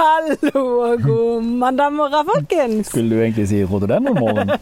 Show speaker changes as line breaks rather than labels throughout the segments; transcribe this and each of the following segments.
Hallo og god mandag morgen, folkens.
Skulle du egentlig si rhododendron-morgen?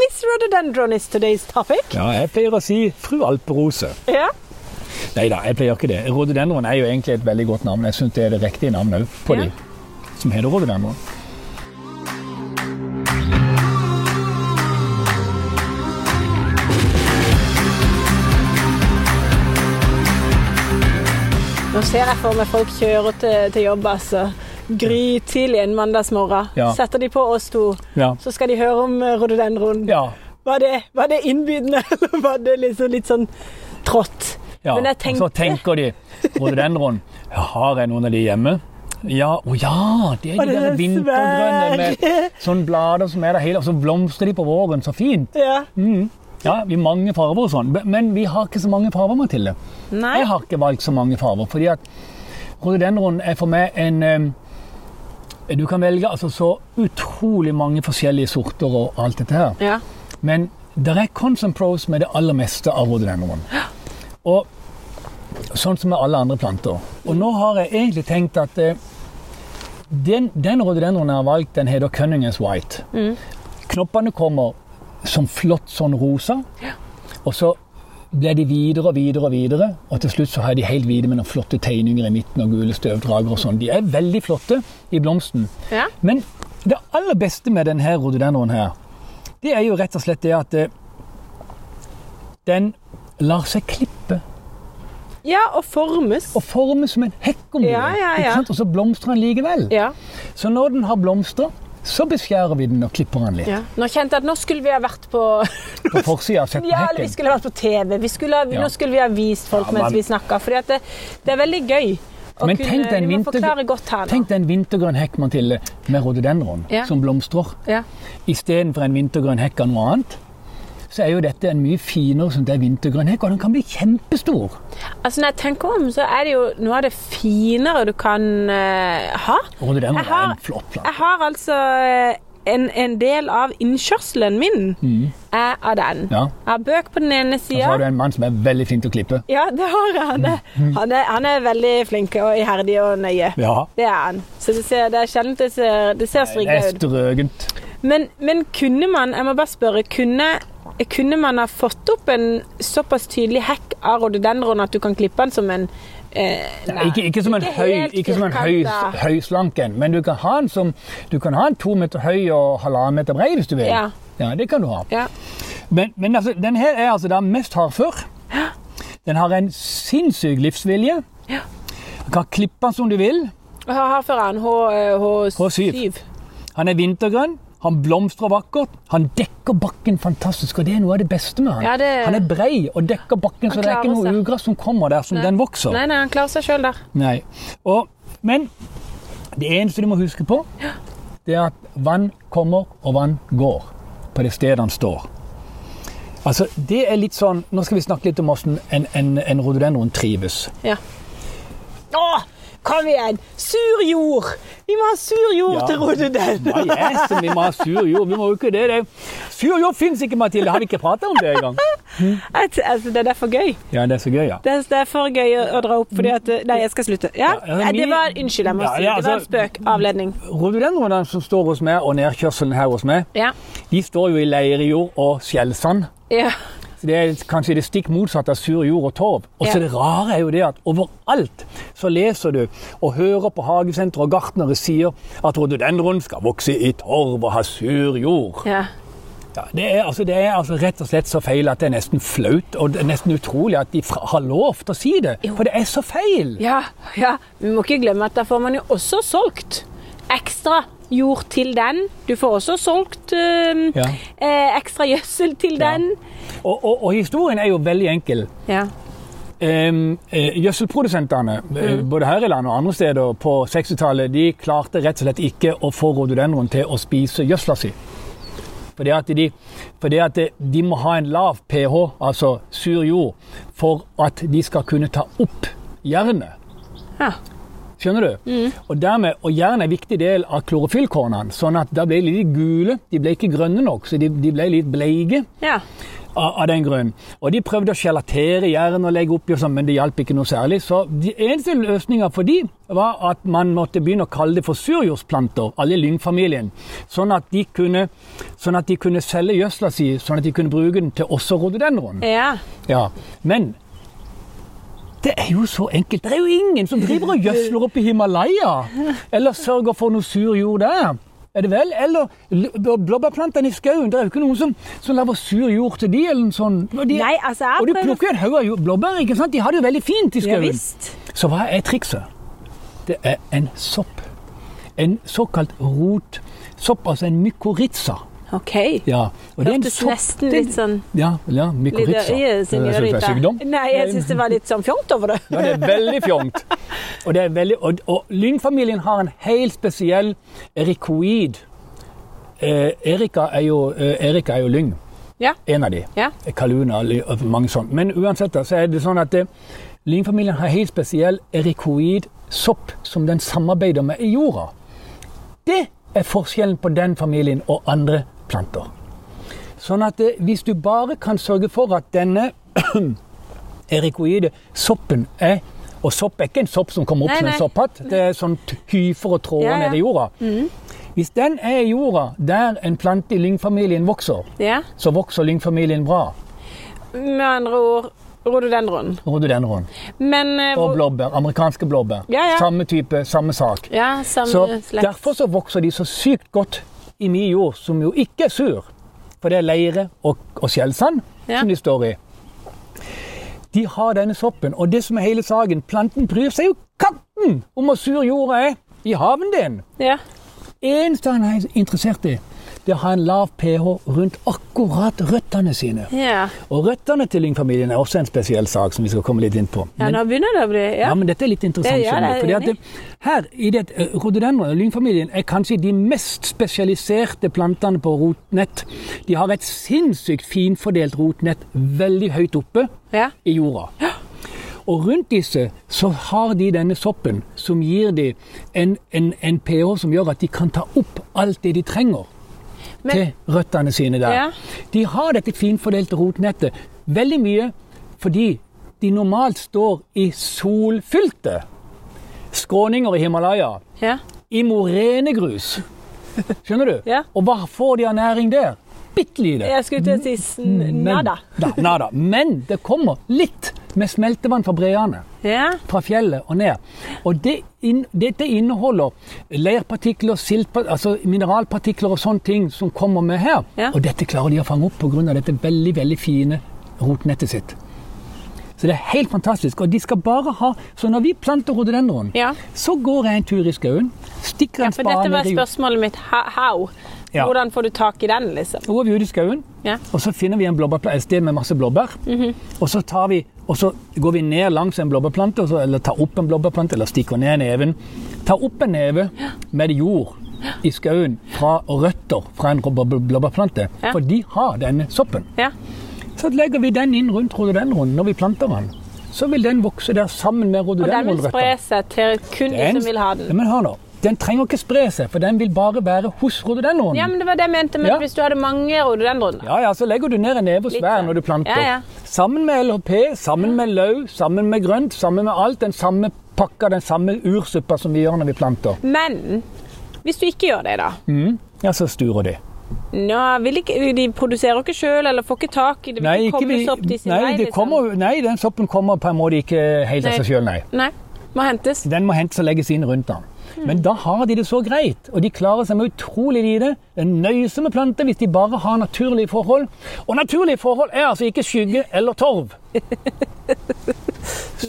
Miss Rhododendron is today's topic.
Ja, jeg pleier å si fru alperose.
Ja.
Nei da, jeg pleier ikke det. Rhododendron er jo egentlig et veldig godt navn. Jeg syns det er det riktige navnet òg på
Ja.
de som heter rhododendron.
Nå ser jeg for meg folk kjører til, til jobb, altså. Gry tidlig en mandagsmorgen.
Ja.
Setter de på oss to,
Ja.
så skal de høre om eh, rhododendron.
Ja.
Var, det, var det innbydende, eller var det liksom litt sånn trått?
ja.
Men jeg
Og så
tenkte-
tenker de rhododendron. Har jeg noen av de hjemme? Ja, å ja! Det er
Og
de
den
der
er
vintergrønne med sånne blader som er der hele, og så blomstrer de på våren. Så fint.
Ja.
Mm. Ja, vi har mange farver og sånn, men vi har ikke så mange farver, Mathilde.
Nei.
Jeg har ikke valgt så mange farver, fordi at rhododendron er for meg en em, Du kan velge altså så utrolig mange forskjellige sorter og alt dette her.
Ja.
Men det er Constant Pros med det aller meste av rhododendron. Og sånn som med alle andre planter. Og nå har jeg egentlig tenkt at eh, den, den rhododendronen jeg har valgt, den heter Cunningham's White. Knoppene kommer som flott sånn rosa, og så blir de videre og videre og videre, og til slutt så har de helt hvite med noen flotte tegninger i midten og gule støvdrager og sånn. De er veldig flotte i blomsten.
Ja.
Men det aller beste med denne rhododendron her, det er jo rett og slett det at eh, den lar seg klippe
ja, og formes.
og forme som en hekk om du
Ja,
vil,
ja,
ikke
ja.
sant? Og så blomstrer den likevel.
Ja.
Så når den har blomster, så beskjærer vi den og klipper den litt.
ja. Nå kjente jeg at nå skulle vi ha vært på
På forsida av sett på
Ja, eller vi
hekken.
skulle ha vært på TV. Vi skulle ha,
Ja.
Nå skulle vi ha vist folk
Ja, men-
mens vi snakka. For det, det er veldig gøy. å
Men tenk deg en
vi må
vinter-
forklare godt her nå.
Tenk deg en vintergrønn hekk Mathilde, med rhododendron
Ja.
som blomstrer.
Ja.
Istedenfor en vintergrønn hekk av noe annet, så er jo dette en mye finere som det er vintergrønn hekk, og den kan bli kjempestor.
Altså, når jeg tenker om, så er det jo noe av det finere du kan eh, ha.
Rhododendron
Jeg har-
er en flott plante.
Jeg har altså eh, en, en del av innkjørselen min er av den.
Mm. Ja.
Jeg har bøk på den ene
Og så har
sida.
du en Mm. mann som er veldig flink til å klippe.
Ja, det har jeg. Han er, han er, han er veldig flink og iherdig og nøye.
Ja.
Det er han. Så det, ser, det er sjelden det ser, det ser
Det
strigla
er
ut.
strøgent.
Men, men kunne man, jeg må bare spørre, kunne, kunne man ha fått opp en såpass tydelig hekk av rhododendron at du kan klippe den som en eh, nei,
Ikke, ikke som en høy,
helt
ikke som en høy,
firkantet.
høy slank en, men du kan ha en som du kan ha en to meter høy og halvannen meter brei hvis du vil.
Ja.
Ja, det kan du ha.
Ja.
Men, men altså, den her er altså da mest hardfør. Den har en sinnssyk livsvilje.
Ja.
Du kan klippe den som du vil.
Og Her her fører han H, eh,
H7.
H7.
Han er vintergrønn. Han blomstrer vakkert. Han dekker bakken fantastisk, og det er noe av det beste med han.
Ja, det-
Han er brei og dekker bakken, så det er
klarer
ikke noe
seg.
ugress som kommer der som
Nei.
den vokser.
Nei, nei, han klarer seg sjøl der.
Nei. Og, men det eneste du må huske på, det er at vann kommer og vann går på det stedet han står. Altså, det er litt sånn, Nå skal vi snakke litt om hvordan en, en, en rhododendron trives.
Ja. Å, kom igjen! Sur jord! Vi må ha sur jord
Ja.
til rhododendron!
Hva er det vi må ha sur jord? Vi må jo ikke det. det. Sur jord fins ikke, Mathilde. Har vi ikke prata om det engang?
Altså, altså, det er for gøy.
Ja, det er så gøy, ja.
Det er, det er for gøy å, å dra opp fordi at eh, Nei, jeg skal slutte. Ja?
Ja, altså,
Nei, det
min-
var Unnskyld, jeg må
Ja,
si.
ja,
Det var en
altså-
spøk. Avledning.
Rhododendronene som står hos meg, og nedkjørselen her hos meg,
Ja.
de står jo i leirjord og skjellsand.
ja.
Så Det er kanskje det stikk motsatte av sur jord og torv. Og så
Ja.
det rare er jo det at overalt så leser du og hører på hagesenter og gartnere sier at rhododendron skal vokse i torv og ha sur jord.
Ja.
Ja, det, er, altså, det er altså rett og slett så feil at det er nesten flaut, og det er nesten utrolig at de fra, har lov til å si det. For det er så feil!
ja, ja. Vi må ikke glemme at da får man jo også solgt ekstra jord til den. Du får også solgt øhm,
Ja.
eh, ekstra gjødsel til
Ja.
den.
Og, og, og historien er jo veldig enkel.
Ja.
Ehm, eh, gjødselprodusentene, eh, både her i landet og andre steder på 60-tallet, de klarte rett og slett ikke å få rhododendron til å spise gjødsla si. Fordi at, de, fordi at eh, de må ha en lav pH, altså sur jord, for at de skal kunne ta opp jernet.
Ja.
Skjønner du? Og dermed, og jern er en viktig del av klorofyllkornene, sånn at da ble de litt gule. De ble ikke grønne nok, så de, de ble litt bleike
Ja.
av, av den grunn. Og de prøvde å gelatere jern og legge oppi, og sånn, men det hjalp ikke noe særlig. Så de eneste løsninga for de var at man måtte begynne å kalle det for surjordsplanter, alle i lyngfamilien. Sånn at de kunne, sånn at de kunne selge gjødsla si, sånn at de kunne bruke den til også rhododendron.
ja.
Ja, men det er jo så enkelt. Det er jo ingen som driver og gjødsler oppe i Himalaya. Eller sørger for noe sur jord der. Er det vel? Eller l- bl- blåbærplantene i skauen. Det er jo ikke noen som, som lager sur jord til de, eller noe sånt. Og, de,
Nei, altså, jeg
og du
prøver-
plukker jo en haug av jord- blåbær, ikke sant? De har det jo veldig fint i
Ja
skauen.
visst.
så hva er trikset? Det er en sopp. En såkalt rotsopp, altså en mykorrhiza.
OK.
Ja, og det er en
Hørtes
sopp-
nesten
det-
litt sånn
Ja, ja
Litt sånn- eh,
mykorrhiza.
øye,
Jeg synes det er sykdom.
Nei, jeg syns det var litt sånn fjongt over det.
Ja, det er veldig fjongt. Og, det er veldig, og, og lyngfamilien har en helt spesiell erikoid. Eh, Erika, er jo, eh, Erika er jo lyng.
Ja.
En av de.
Ja.
Kaluna ly- og mange sånne. Men uansett da, så er det sånn at eh, lyngfamilien har helt spesiell erikoid-sopp som den samarbeider med i jorda. Det er forskjellen på den familien og andre planter. Sånn at eh, hvis du bare kan sørge for at denne erikoide soppen er Og sopp er ikke en sopp som kommer opp
Nei,
som en
nei.
sopphatt. Det er sånn t- hyfer og tråder
Ja, ja. Mm.
nede i jorda. Hvis den er i jorda der en plante i lyngfamilien vokser,
ja.
så vokser lyngfamilien bra.
Med andre ord rhododendron.
Rhododendron.
Men eh,
Og
hvor-
blåbær. Amerikanske blåbær.
Ja, ja.
Samme type, samme sak.
Ja, samme
Så
slekt.
Derfor så vokser de så sykt godt i min jord, som jo ikke er sur. For det er leire og, og skjellsand
Ja.
som de står i. De har denne soppen, og det som er hele saken, planten bryr seg jo katten om hvor sur jorda er i haven din.
Ja.
Eneste han er interessert i, det er å ha en lav pH rundt akkurat røttene sine.
ja.
Og røttene til lyngfamilien er også en spesiell sak som vi skal komme litt inn på.
Ja,
Men-
nå begynner det å bli
ja,
Ja.
men dette er litt interessant.
Det- ja,
skjønner du,
det er jeg
fordi at det, her i det eh, rhododendron, lyngfamilien, er kanskje de mest spesialiserte plantene på rotnett. De har et sinnssykt finfordelt rotnett veldig høyt oppe
ja.
i jorda. Og rundt disse så har de denne soppen som gir de en, en, en pH som gjør at de kan ta opp alt det de trenger
Men-
til røttene sine der.
Ja.
De har dette finfordelte rotnettet veldig mye fordi de normalt står i solfylte skråninger i Himalaya,
ja.
i morenegrus. Skjønner du?
Ja.
Og hva får de av næring der? Bitte lite.
Jeg skulle til å si sn- nada.
Da, nada. Men det kommer litt med smeltevann fra breene.
Ja.
Fra fjellet og ned. Og det inn, dette inneholder leirpartikler, siltpa- altså mineralpartikler og sånne ting som kommer med her.
Ja.
Og dette klarer de å fange opp pga. dette veldig veldig fine rotnettet sitt. Så det er helt fantastisk. Og de skal bare ha Så når vi planter rhododendron,
Ja.
så går jeg en tur i skauen, stikker en
For
spade
dette var
ned i jord-
spørsmålet mitt. Ha- How?
Ja.
Hvordan får du tak i den, liksom?
Nå er vi ute i skauen,
Ja.
og så finner vi en blåbærpla- et sted med masse blåbær.
Mhm.
og, så tar vi, og så går vi ned langs en blåbærplante, og så- eller tar opp en blåbærplante, eller stikker ned neven. Tar opp en neve med jord i skauen fra og røtter fra en blå- blå- blåbærplante,
Ja.
for de har denne soppen.
Ja.
Så legger vi den inn rundt rhododendronen når vi planter den. Så vil den vokse der sammen med
Og den vil
rhododendronrøtter.
spre seg til kun de som vil ha
Ja,
den.
Men hør nå, den trenger ikke spre seg, for den vil bare være hos rhododendronen.
Ja, men det var det jeg mente. Men
Ja.
hvis du hadde mange rhododendroner
Ja, ja, så legger du ned en neve og
Litt
svær
sånn.
når du planter.
Ja, ja.
Sammen med LHP, sammen med løv, sammen med grønt, sammen med alt. Den samme pakka, den samme ursuppa som vi gjør når vi planter.
Men hvis du ikke gjør det, da
Mm. Ja, så sturer de.
Nå vil ikke, De produserer ikke sjøl, eller får ikke tak i det. vil
Nei, ikke
komme
vi,
så opp til sin
nei,
vei,
det
liksom.
kommer, nei, den soppen kommer på en måte ikke helt av
Nei.
seg sjøl, nei.
Nei. Må hentes.
Den må hentes og legges inn rundt den. Men da har de det så greit, og de klarer seg med utrolig lite. Det er nøysomme planter hvis de bare har naturlige forhold. Og naturlige forhold er altså ikke skygge eller torv.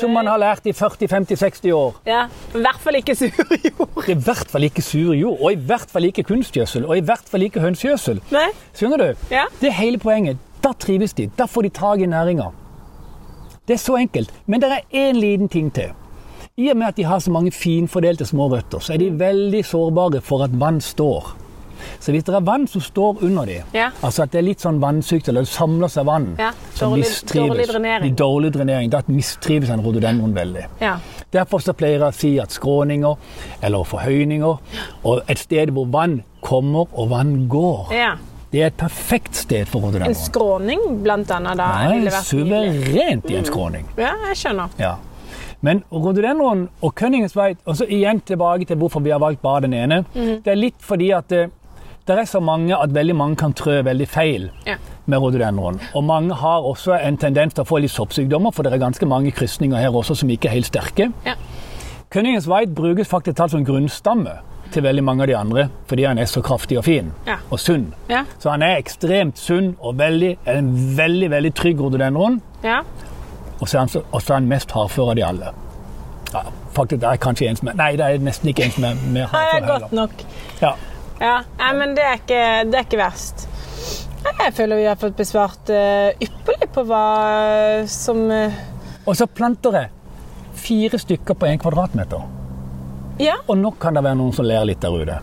Som man har lært i 40-50-60 år.
Ja. I hvert fall ikke sur jord.
Det er i hvert fall ikke sur jord, og i hvert fall ikke kunstgjødsel, og i hvert fall ikke hønsegjødsel.
Nei.
Skjønner du?
Ja.
Det er hele poenget. Da trives de. Da får de tak i næringa. Det er så enkelt. Men det er én liten ting til. I og med at de har så mange finfordelte små røtter, så er de veldig sårbare for at vann står. Så hvis det er vann som står under dem,
Ja.
altså at det er litt sånn vannsykdom, eller det samler seg vann
Ja,
som
dårlig-
mistrives.
dårlig drenering.
Det er Dårlig drenering. Da mistrives en rhododendron veldig.
Ja.
Derfor så pleier jeg å si at skråninger eller forhøyninger og et sted hvor vann kommer og vann går,
ja.
det er et perfekt sted for
En
rhododendron.
skråning, blant annet, da. ville
Nei,
vært nydelig.
suverent i en skråning.
Ja, jeg skjønner.
Ja. Men rhododendron og Königsveit, og så igjen tilbake til hvorfor vi har valgt bare den ene.
Mhm.
Det er litt fordi at det, det er så mange at veldig mange kan trø veldig feil
Ja.
med rhododendron. Og mange har også en tendens til å få litt soppsykdommer, for det er ganske mange krysninger her også som ikke er helt sterke.
Ja.
Königsveit brukes faktisk talt som grunnstamme til veldig mange av de andre, fordi han er så kraftig og fin
Ja.
og sunn.
Ja.
Så han er ekstremt sunn og veldig, en veldig, veldig trygg rhododendron.
ja.
Og så er han, så- og så er han mest hardfør av de alle. Ja, faktisk, det er kanskje en som er Nei, det er nesten ikke en som er mer
Nei, det
hardfør
er
heller.
godt nok.
Ja.
Ja. Nei, men det er ikke, det er ikke verst. Nei, Jeg føler vi har fått besvart eh, ypperlig på hva eh, som eh,
Og så planter jeg fire stykker på én kvadratmeter.
Ja.
Og nå kan det være noen som ler litt der ute.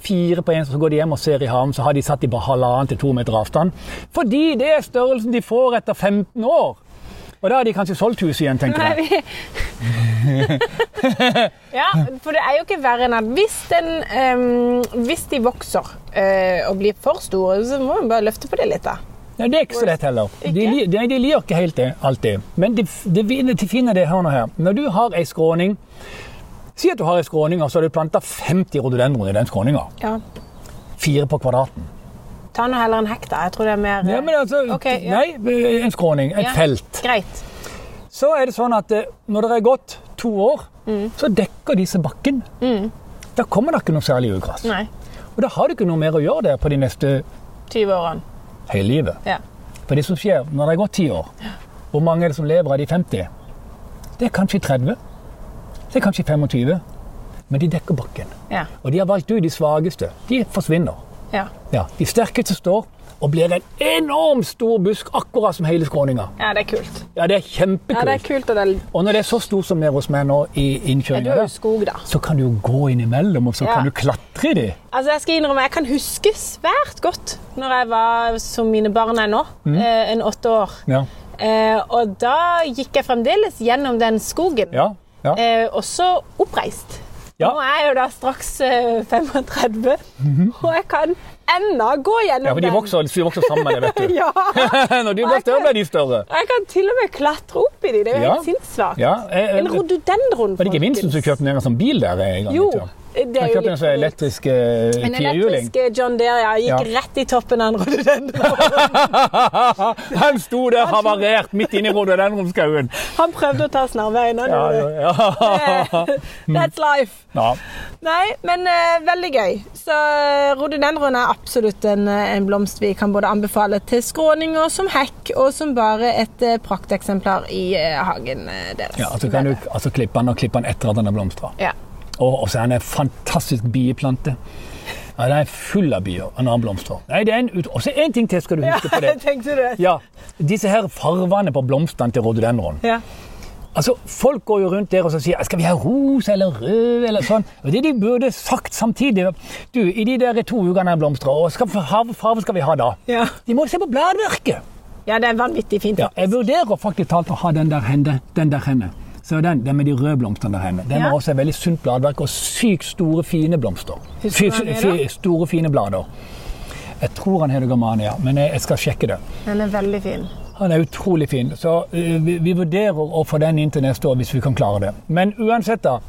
Fire på én, så går de hjem og ser i havn, så har de satt de på halvannen til to meter avstand. Fordi det er størrelsen de får etter 15 år. Og da har de kanskje solgt huset igjen, tenker
Nei,
jeg.
vi... ja, for det er jo ikke verre enn at hvis, den, ehm, hvis de vokser eh, og blir for store, så må man bare løfte på det litt. da.
Nei, det er ikke så lett heller. De,
Ikke?
li- nei, de liker ikke helt det, alltid. Men de, f- de, vinner- de finner det her og her. Når du har ei skråning Si at du har ei skråning, og så har du planta 50 rhododendron i den skråninga.
Ja.
Fire på kvadraten.
Ta nå heller en hekk, da. Jeg tror det er mer eh,
Ja, men altså,
Ok, ja.
Nei, eh, en skråning. Et
Ja.
felt.
Greit.
Så er det sånn at eh, når det er gått to år,
Mm.
så dekker disse bakken. Da kommer det ikke noe særlig ugress.
Nei.
Og da har du ikke noe mer å gjøre der på de neste
20-årene.
hele livet.
Ja.
For det som skjer når det er gått ti år, hvor mange er det som lever av de 50? Det er kanskje 30. Det er kanskje 25. Men de dekker bakken.
Ja.
Og de har valgt ut de svakeste. De forsvinner.
Ja.
Ja, de sterkeste står og blir en enormt stor busk, akkurat som hele skråninga.
ja, det er kult.
Ja, det er kjempekult.
Ja, det er kult og det er
Og når det er så stort som det er hos meg nå i
ja, Du
innkjøringa,
er jo
der,
skog, da.
så kan du jo gå innimellom, og så
Ja.
kan du klatre i de.
Altså, jeg skal innrømme, jeg kan huske svært godt når jeg var som mine barn er nå,
Mm.
eh, en åtte år.
Ja.
Eh, og da gikk jeg fremdeles gjennom den skogen.
Ja. ja.
Eh, også oppreist.
Ja.
Nå er jeg jo da straks eh, 35, og jeg kan ennå gå gjennom
Mhm. ja for de
den.
vokser, de vokser sammen, det vet du.
Ja.
Når du blir større, blir de større.
Og jeg kan til og med klatre opp i de. Det er jo
Ja.
helt sinnssvakt.
Ja, eh, jeg,
En rhododendron,
Var det ikke Vincent som kjøpte ned en sånn bil der? en gang?
Jo,
vet du?
det er
Han
jo
kjøpte en sånn
litt-
elektrisk eh,
En
firehjuling.
elektrisk eh, John Deere ja, gikk
Ja.
rett i toppen av en rhododendron.
Han sto der havarert midt inne i rhododendronskauen.
Han prøvde å ta snarveien. han
Ja,
gjorde det.
ja.
Eh, That's life.
ja.
Nei, men eh, veldig gøy. Så eh, rhododendron er absolutt en, eh, en blomst vi kan både anbefale til skråninger, som hekk og som bare et eh, prakteksemplar i eh, hagen eh, deres.
ja altså kan du altså klippe den og klippe den etter at den har blomstra.
Ja.
Og og så er den en fantastisk bieplante. Ja, Den er full av bier og den har blomster. Nei, det er en ut... Og så én ting til skal du
ja,
huske på det.
tenkte du det?
Ja, Disse her farvene på blomstene til rhododendron.
Ja.
Altså, Folk går jo rundt der og så sier skal vi ha rosa eller rød eller sånn. Og Det de burde sagt samtidig Du, i de der to ukene jeg blomstrer, og skal, farve, farve skal vi ha da?
Ja.
De må se på bladverket!
ja, det er vanvittig fint.
Ja, jeg vurderer faktisk talt å ha den der henne. Den der henne. Så den, den med de røde blomstene der henne. Den
Ja.
har også et veldig sunt bladverk og sykt store, fine blomster.
Husker du hva
Fy-
den
fy-
heter?
store, fine blader. Jeg tror han heter Germania, men jeg, jeg skal sjekke det.
Den er veldig fin.
Han er utrolig fin, så eh, vi, vi vurderer å få den inn til neste år hvis vi kan klare det. Men uansett, da.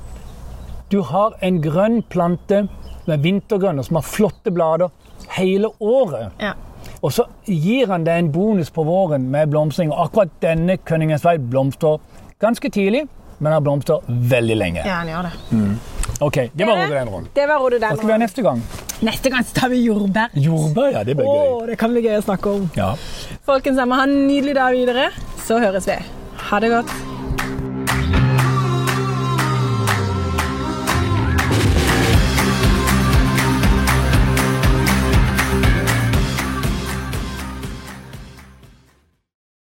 Du har en grønn plante som er vintergrønn og som har flotte blader hele året.
Ja.
Og så gir han deg en bonus på våren med blomstring. Og akkurat denne Kønningens vei blomstrer ganske tidlig, men han blomstrer veldig lenge.
ja, han gjør det.
Ok, det var rhododendron.
Det var
Hva skal vi ha
rhododendron.
neste gang?
Neste gang så tar vi jordbær.
Jordbær, ja. Det blir
Å,
gøy.
det kan bli gøy å snakke om.
Ja.
Folkens, jeg må ha en nydelig dag videre. Så høres vi. Ha det godt.